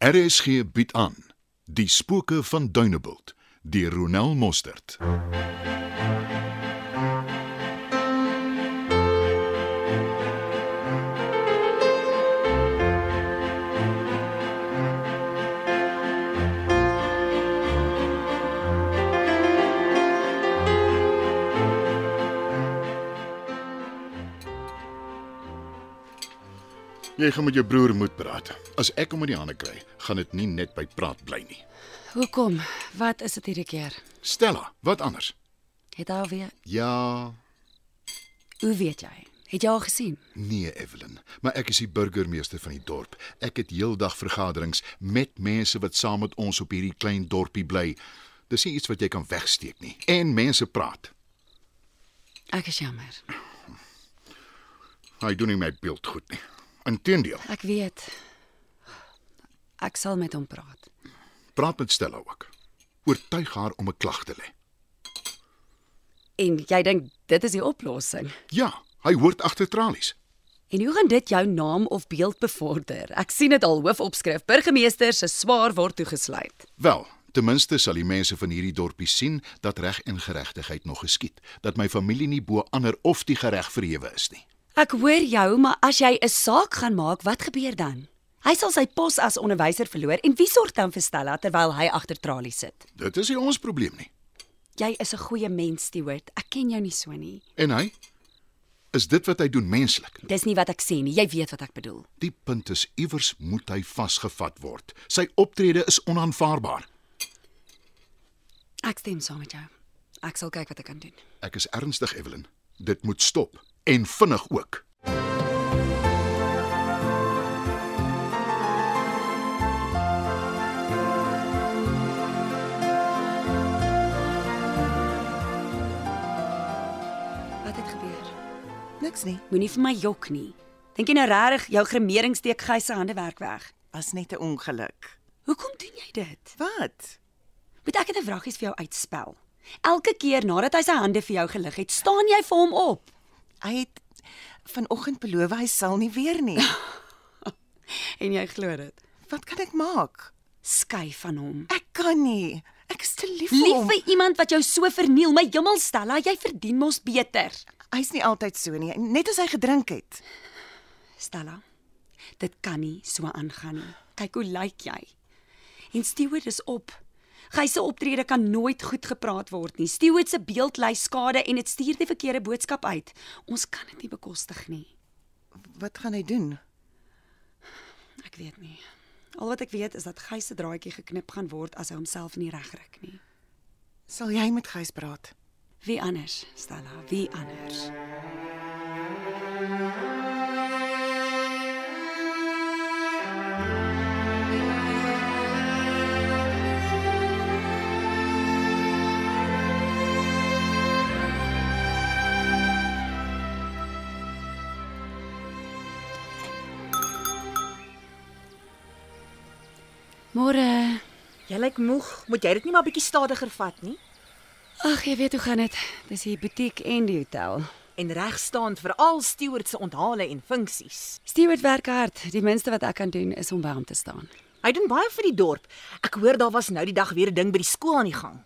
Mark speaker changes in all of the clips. Speaker 1: RSG bied aan Die spooke van Dunebuld deur Ronel Mostert. Jy gaan met jou broer moet praat. As ek hom in die hande kry, gaan dit nie net by praat bly nie.
Speaker 2: Hoekom? Wat is dit hierdie keer?
Speaker 1: Stella, wat anders?
Speaker 2: Het al weer.
Speaker 1: Ja,
Speaker 2: Hoe weet jy? Het jy al gesien?
Speaker 1: nee Evelyn, maar ek is die burgemeester van die dorp. Ek het heeldag vergaderings met mense wat saam met ons op hierdie klein dorpie bly. Dis nie iets wat jy kan wegsteek nie. En mense praat.
Speaker 2: Ek is jammer.
Speaker 1: Hy doen nie my beeld goed nie. Inteendeel,
Speaker 2: Ek weet. Ek sal met hom praat.
Speaker 1: praat met Stella ook. Oortuig haar om 'n klag te lê.
Speaker 2: En jy dink dit is die oplossing?
Speaker 1: Ja, hy hoort agter tralies.
Speaker 2: En hoe gaan dit jou naam of beeld bevorder? Ek sien dit al hoofopskrif: Burgemeester se swaar word toegesluit.
Speaker 1: Wel, ten minste sal die mense van hierdie dorpie sien dat reg en geregtigheid nog geskied, dat my familie nie bo ander of die gereg verhewe is nie.
Speaker 2: Ek hoor jou, maar as jy 'n saak gaan maak, wat gebeur dan? Hy sal sy pos as onderwyser verloor en wie sorg dan vir Stella terwyl hy agter tralies sit?
Speaker 1: Dit is nie ons probleem nie.
Speaker 2: Jy is 'n goeie mens, Stewart. Ek ken jou nie so nie.
Speaker 1: En hy is dit wat hy doen menslik.
Speaker 2: Dis nie wat ek sê nie. Jy weet wat ek bedoel.
Speaker 1: Die punt is iewers moet hy vasgevat word. Sy optrede is onaanvaarbaar.
Speaker 2: Ek stem saam met jou. Ek sal kyk wat ek kan doen.
Speaker 1: Ek is ernstig, Evelyn. Dit moet stop en vinnig ook.
Speaker 2: Wat het gebeur?
Speaker 3: Niks nie.
Speaker 2: Moenie vir my jok nie. Dink jy nou regtig jou grimeringssteek gys se hande werk weg?
Speaker 3: Was net 'n ongeluk.
Speaker 2: Hoekom doen jy dit?
Speaker 3: Wat?
Speaker 2: Moet ek dit 'n vragies vir jou uitspel? Elke keer nadat hy sy hande vir jou gelig het, staan jy vir hom op.
Speaker 3: Hy het vanoggend beloof hy sal nie weer nie.
Speaker 2: En jy glo dit.
Speaker 3: Wat kan ek maak?
Speaker 2: Skei van hom.
Speaker 3: Ek kan nie. Ek is te lief vir
Speaker 2: Lief
Speaker 3: hom.
Speaker 2: vir iemand wat jou so verniel, my hemel Stella, jy verdien mos beter.
Speaker 3: Hy's nie altyd so nie, net as hy gedrink het.
Speaker 2: Stella, dit kan nie so aangaan nie. Kyk hoe lyk jy. En Stewart is op. Gys se optrede kan nooit goed gepraat word nie. Stewart se beeld ly skade en dit stuur die verkeerde boodskap uit. Ons kan dit nie bekostig nie.
Speaker 3: Wat gaan hy doen?
Speaker 2: Ek weet nie. Al wat ek weet is dat Gys se draadjie geknip gaan word as hy homself nie regryk nie.
Speaker 3: Sal jy met Gys praat?
Speaker 2: Wie anders, Stella? Wie anders? Môre.
Speaker 4: Jy lyk moeg, moet jy dit nie maar bietjie stadiger vat nie?
Speaker 2: Ag, jy weet hoe gaan dit. Dis hier butiek en die hotel.
Speaker 4: En reg staan vir al steward se onthale en funksies.
Speaker 2: Stewart werk hard. Die minste wat ek kan doen is om by hom te staan.
Speaker 4: Hy doen baie vir die dorp. Ek hoor daar was nou die dag weer 'n ding by die skool aan die gang.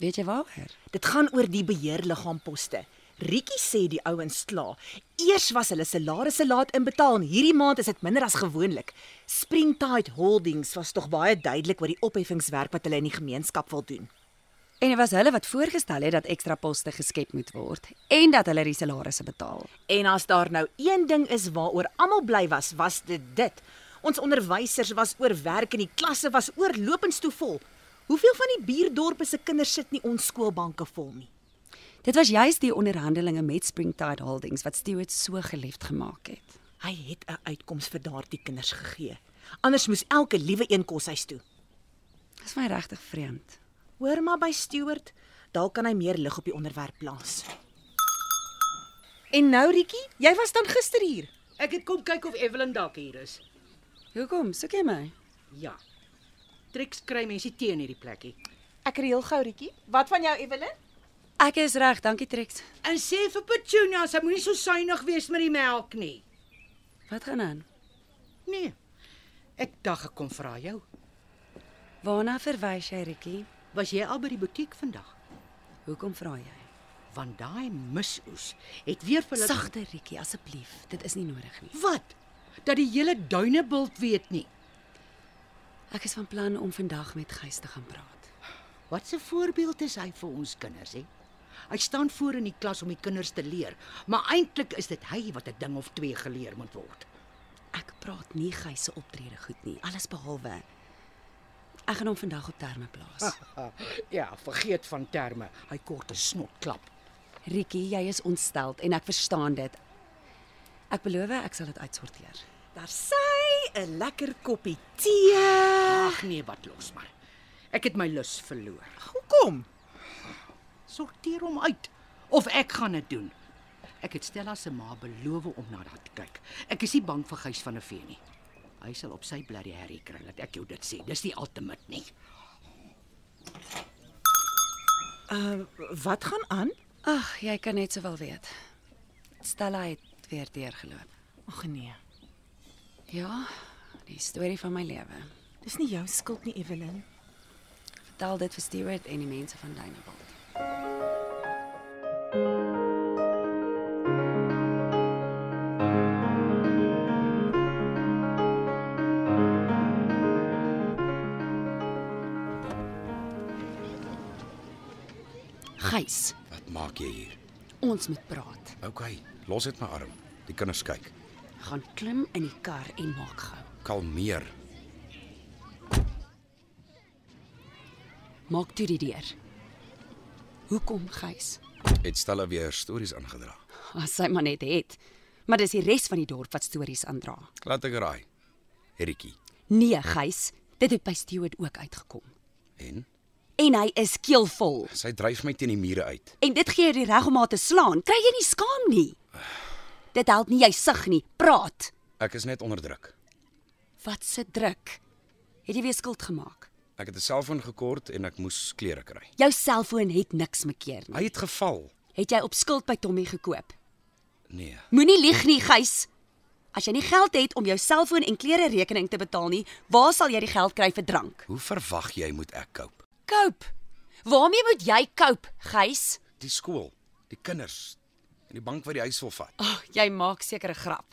Speaker 2: Weet jy waaroor?
Speaker 4: Dit gaan oor die beheerliggaamposte. Rietjie sê die ouens kla. Eers was hulle salarisse laat inbetaal en hierdie maand is dit minder as gewoonlik. Springtide Holdings was tog baie duidelik oor die opheffingswerk wat hulle in die gemeenskap wil doen.
Speaker 2: En dit was hulle wat voorgestel het dat ekstra poste geskep moet word en dat hulle die salarisse betaal.
Speaker 4: En as daar nou een ding is waaroor almal bly was, was dit dit. Ons onderwysers was oorwerk en die klasse was oorlopends toe vol. Hoeveel van die buurdorpe se kinders sit nie ons skoolbanke vol nie?
Speaker 2: Dit was juis die onderhandelinge met Springtide Holdings wat Stewart so geliefd gemaak het.
Speaker 4: Hy het 'n uitkoms vir daardie kinders gegee. Anders moes elke liewe een koshuis toe.
Speaker 2: Dit is my regtig vreemd.
Speaker 4: Hoor maar by Stewart, dalk kan hy meer lig op die onderwerp plaas. En nou Rietjie, jy was dan gister hier.
Speaker 5: Ek het kom kyk of Evelyn dalk hier is.
Speaker 2: Hoekom soek jy my?
Speaker 5: Ja. Tricks kry mense teen hierdie plekkie.
Speaker 4: Ek reël gou Rietjie. Wat van jou Evelyn?
Speaker 2: Ek is reg, dankie Trex.
Speaker 5: En sê vir Petunia, sy moenie so suinig wees met die melk nie.
Speaker 2: Wat gaan aan?
Speaker 5: Nee. Ek dink ek kom vra jou.
Speaker 2: Waarna verwys jy, Rikkie?
Speaker 5: Was jy al by die butiek vandag?
Speaker 2: Hoekom vra jy?
Speaker 5: Want daai misoes het weer vir hulle
Speaker 2: Sagter, Rikkie, asseblief. Dit is nie nodig nie.
Speaker 5: Wat? Dat die hele duinebult weet nie.
Speaker 2: Ek is van plan om vandag met Gys te gaan praat.
Speaker 5: Wat 'n voorbeeld is hy vir ons kinders, hè? Hy staan voor in die klas om die kinders te leer, maar eintlik is dit hy wat 'n ding of twee geleer moet word.
Speaker 2: Ek praat nie Gys se optrede goed nie, alles behalwe. Ek gaan hom vandag op terme plaas. Ah.
Speaker 5: Ja, vergeet van terme. Hy kort 'n snotklap.
Speaker 2: Rikkie, jy is ontsteld en ek verstaan dit. Ek beloof ek sal dit uitsorteer.
Speaker 4: Daar sy 'n lekker koppie tee.
Speaker 5: Ag nee, wat los maar. Ek het my lus verloor.
Speaker 4: Hoekom?
Speaker 5: Sorteer hom uit of ek gaan dit doen. Ek het Stella se ma beloof om na haar te kyk. Ek is nie bang vir Gys van 'n vee nie. Hy sal op sy blerry herrie kry, laat ek jou dit sê. Dis die ultimate nie.
Speaker 4: Wat gaan aan?
Speaker 2: Ag, jy kan net sowel weet. Stella het weer deurgeloop.
Speaker 4: Ag nee.
Speaker 2: Ja, die storie van my lewe.
Speaker 4: Dis nie jou skuld nie, Evelyn.
Speaker 2: Vertel dit vir Stewart en die mense van Duneveld. Gys,
Speaker 6: Wat maak jy hier?
Speaker 2: ons moet praat.
Speaker 6: OK, los dit my arm. Die kinders kyk.
Speaker 2: Gaan klim in die kar en maak gou.
Speaker 6: Kalmeer.
Speaker 2: Maak toe die deur. Hoekom gys?
Speaker 6: Het Stella weer stories aangedra.
Speaker 2: As sy maar net het. Maar dis die res van die dorp wat stories aandra.
Speaker 6: Laat ek raai. Herrietjie.
Speaker 2: Nee, Gys, dit het by Stewart ook uitgekom.
Speaker 6: En
Speaker 2: En hy is keelvol.
Speaker 6: sy dryf my teen die mure uit.
Speaker 2: En dit gee jou die reg om haar te slaan. Kry jy nie skaam nie? Dit help nie jy sug nie. Praat.
Speaker 6: Ek is net onder druk.
Speaker 2: Wat se druk? Het jy weer skuld gemaak?
Speaker 6: Ek het 'n selfoon gekort en ek moes klere kry.
Speaker 2: Jou selfoon het niks mekeer nie.
Speaker 6: Hy het geval.
Speaker 2: Het jy op skuld by Tommy gekoop?
Speaker 6: Nee.
Speaker 2: Moenie lieg nie, Gys. As jy nie geld het om jou selfoon en klere rekening te betaal nie, waar sal jy die geld kry vir drank?
Speaker 6: Hoe verwag jy moet ek koop?
Speaker 2: Koop. Waarmee moet jy koop, Gys?
Speaker 6: Die skool, die kinders en die bank wat die huis wil vat.
Speaker 2: Ag, oh, jy maak seker 'n grap.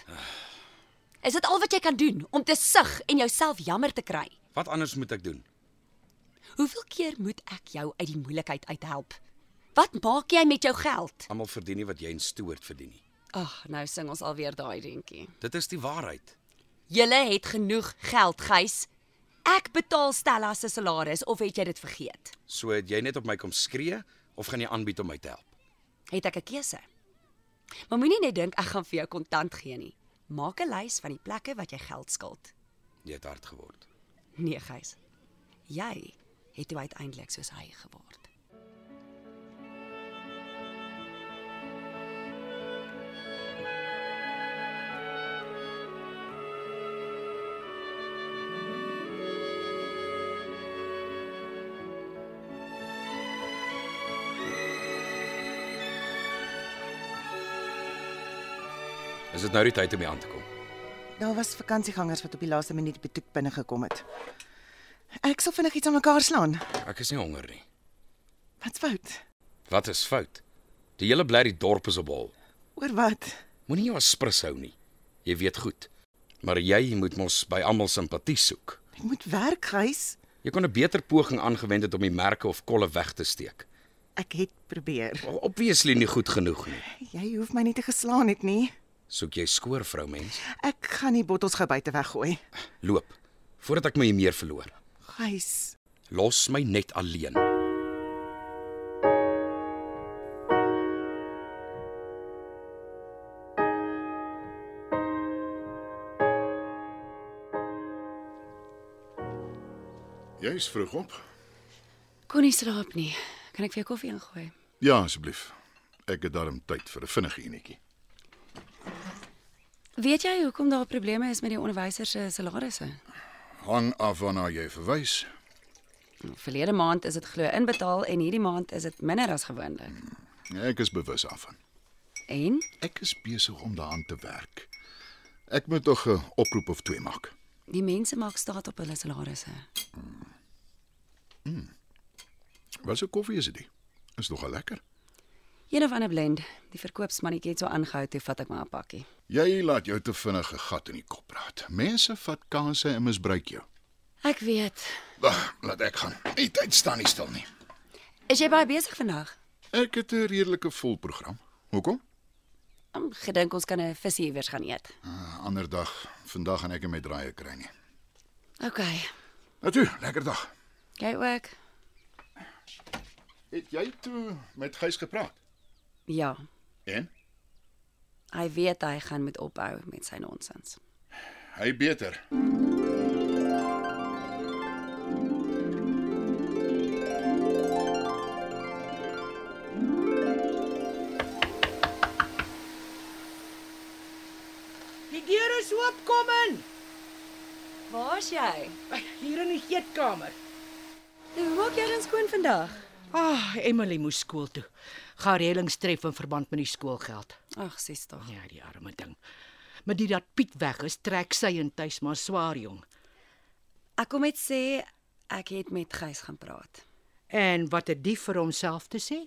Speaker 2: Is dit al wat jy kan doen om te sug en jouself jammer te kry?
Speaker 6: Wat anders moet ek doen?
Speaker 2: Hoeveel keer moet ek jou uit die moeilikheid uithelp? Wat maak jy met jou geld?
Speaker 6: Almal verdien nie wat jy en Stewart verdien nie.
Speaker 2: Ag, nou sing ons alweer daai deuntjie.
Speaker 6: Dit is die waarheid.
Speaker 2: Julle het genoeg geld, Gys. Ek betaal Stella se salaris of het jy dit vergeet?
Speaker 6: So het jy net op my kom skree of gaan jy aanbied om my te help?
Speaker 2: Het ek 'n keuse? Maar moenie net dink ek gaan vir jou kontant gee nie. Maak 'n lys van die plekke wat jy geld skuld.
Speaker 6: Jy het hard geword.
Speaker 2: Nee, Gys. Jy het toe uiteindelik soos hy geword.
Speaker 6: Is dit nou die tyd om hier aan te kom?
Speaker 3: Daar was vakansiegangers wat op die laaste minuut die butiek binne gekom het. Ek sal vinnig iets aan mekaar slaan.
Speaker 6: Ek is nie honger nie.
Speaker 3: Wat's fout?
Speaker 6: Wat is fout? Die hele blerrie dorp is op hol.
Speaker 3: Oor wat?
Speaker 6: Moenie jou as sprus hou nie. Jy weet goed. Maar jy moet mos by almal simpatie soek.
Speaker 3: Ek moet werk, Gys.
Speaker 6: Jy kon 'n beter poging aangewend het om die merke of kolle weg te steek.
Speaker 3: Ek het probeer.
Speaker 6: Maar Obviously nie goed genoeg nie.
Speaker 3: Jy hoef my nie te geslaan het nie.
Speaker 6: Soek jy skoor vrou mens.
Speaker 3: Ek gaan nie bottels gou buite weggooi.
Speaker 6: Loop voordat ek my meer verloor.
Speaker 3: Gys.
Speaker 6: Los my net alleen.
Speaker 1: Jy's vroeg op.
Speaker 2: Kon nie slaap nie. Kan ek vir jou koffie ingooi?
Speaker 1: Ja, asseblief. Ek het darm tyd vir 'n vinnige enetjie.
Speaker 2: Weet jy hoekom daar probleme is met die onderwysers se salarisse?
Speaker 1: Hang af waarna jy verwys.
Speaker 2: Verlede maand is dit glo inbetaal en hierdie maand is dit minder as gewoonlik.
Speaker 1: Ja, Ek is bewus daarvan.
Speaker 2: En
Speaker 1: Ek is besig om daaraan te werk. Ek moet tog 'n oproep of twee maak.
Speaker 2: Die mense maak staat op hulle salarisse.
Speaker 1: Wat 'n koffie is dit? Is nogal lekker.
Speaker 2: Een of ander blend. Die verkoopsmannetjie het so aangehou toe vat ek maar 'n pakkie.
Speaker 1: Jy laat jou te vinnig 'n gat in die kop praat. Mense vat kansse en misbruik jou.
Speaker 2: Ek weet.
Speaker 1: Wag, laat ek gaan. Die tyd staan nie stil nie.
Speaker 2: Is jy baie besig vandag?
Speaker 1: Ek het 'n redelike vol program. Hoekom?
Speaker 2: Ek gedink ons kan 'n visie iewers gaan eet.
Speaker 1: Uh, ander dag. Vandag gaan ek nie my draaie kry nie.
Speaker 2: OK.
Speaker 1: Natuur, lekker dag.
Speaker 2: Jy ook?
Speaker 1: Het jy toe met Gys gepraat?
Speaker 2: Ja.
Speaker 1: En
Speaker 2: Hy weet hy gaan moet ophou met sy nonsens.
Speaker 1: hy beter.
Speaker 5: Die deur is oop, kom in.
Speaker 2: Waar's jy?
Speaker 5: Hier in die eetkamer.
Speaker 2: Hoe maak jy dan skoon vandag?
Speaker 5: Ah, Emily moes skool toe. Gaan reëlings tref in verband met die skoolgeld.
Speaker 2: Ag, sies tog.
Speaker 5: Ja, die arme ding. Maar dit dat Piet weg is, trek sy en tuis maar swaar jong.
Speaker 2: Ek kom net sê ek het met Gys gaan praat.
Speaker 5: En wat het die vir homself te sê?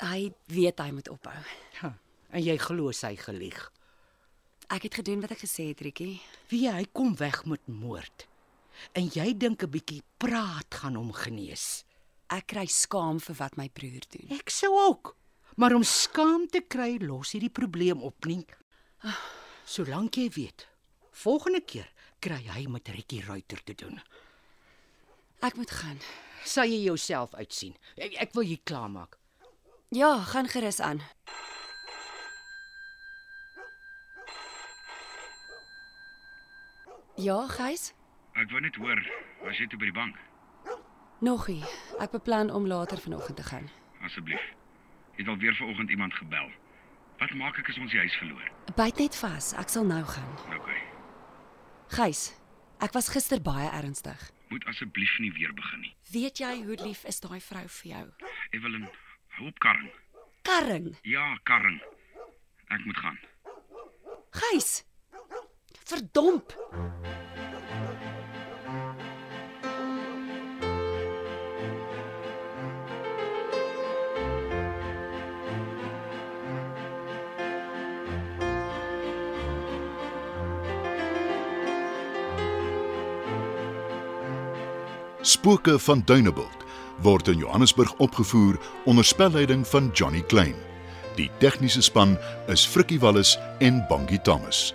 Speaker 2: Hy weet hy moet ophou.
Speaker 5: Ha, en jy glo sy gelieg.
Speaker 2: Ek het gedoen wat ek gesê het, Rietjie.
Speaker 5: Wie hy kom weg met moord. En jy dink 'n bietjie praat gaan hom genees.
Speaker 2: Ek kry skaam vir wat my broer doen.
Speaker 5: Ek sou ook. Maar om skaam te kry los hierdie probleem op nie. Solank jy weet, volgende keer kry hy met Rikkie Ruiter te doen.
Speaker 2: Ek moet gaan.
Speaker 5: Sal jy jouself uitsien. Ek, ek wil hier klaarmaak.
Speaker 2: Ja, gaan gerus aan. Ja, Gys?
Speaker 7: Ek wou net hoor, was jy toe by die bank?
Speaker 2: Nog nie. Ek beplan om later vanoggend te gaan.
Speaker 7: Asseblief. Jy het alweer vanoggend iemand gebel. Wat maak ek as ons die huis verloor?
Speaker 2: Byt net vas, ek sal nou gaan.
Speaker 7: OK.
Speaker 2: Gys, ek was gister baie ernstig.
Speaker 7: Moet asseblief nie weer begin nie.
Speaker 2: Weet jy hoe lief is daai vrou vir jou?
Speaker 7: Evelyn, hou op karring.
Speaker 2: Karring.
Speaker 7: Ja, karring. Ek moet gaan.
Speaker 2: Gys. Verdomp.
Speaker 1: Spooke van Duneveld word in Johannesburg opgevoer onder spelleiding van Johnny Klein. Die tegniese span is Frikkie Wallis en Bongie Thomas.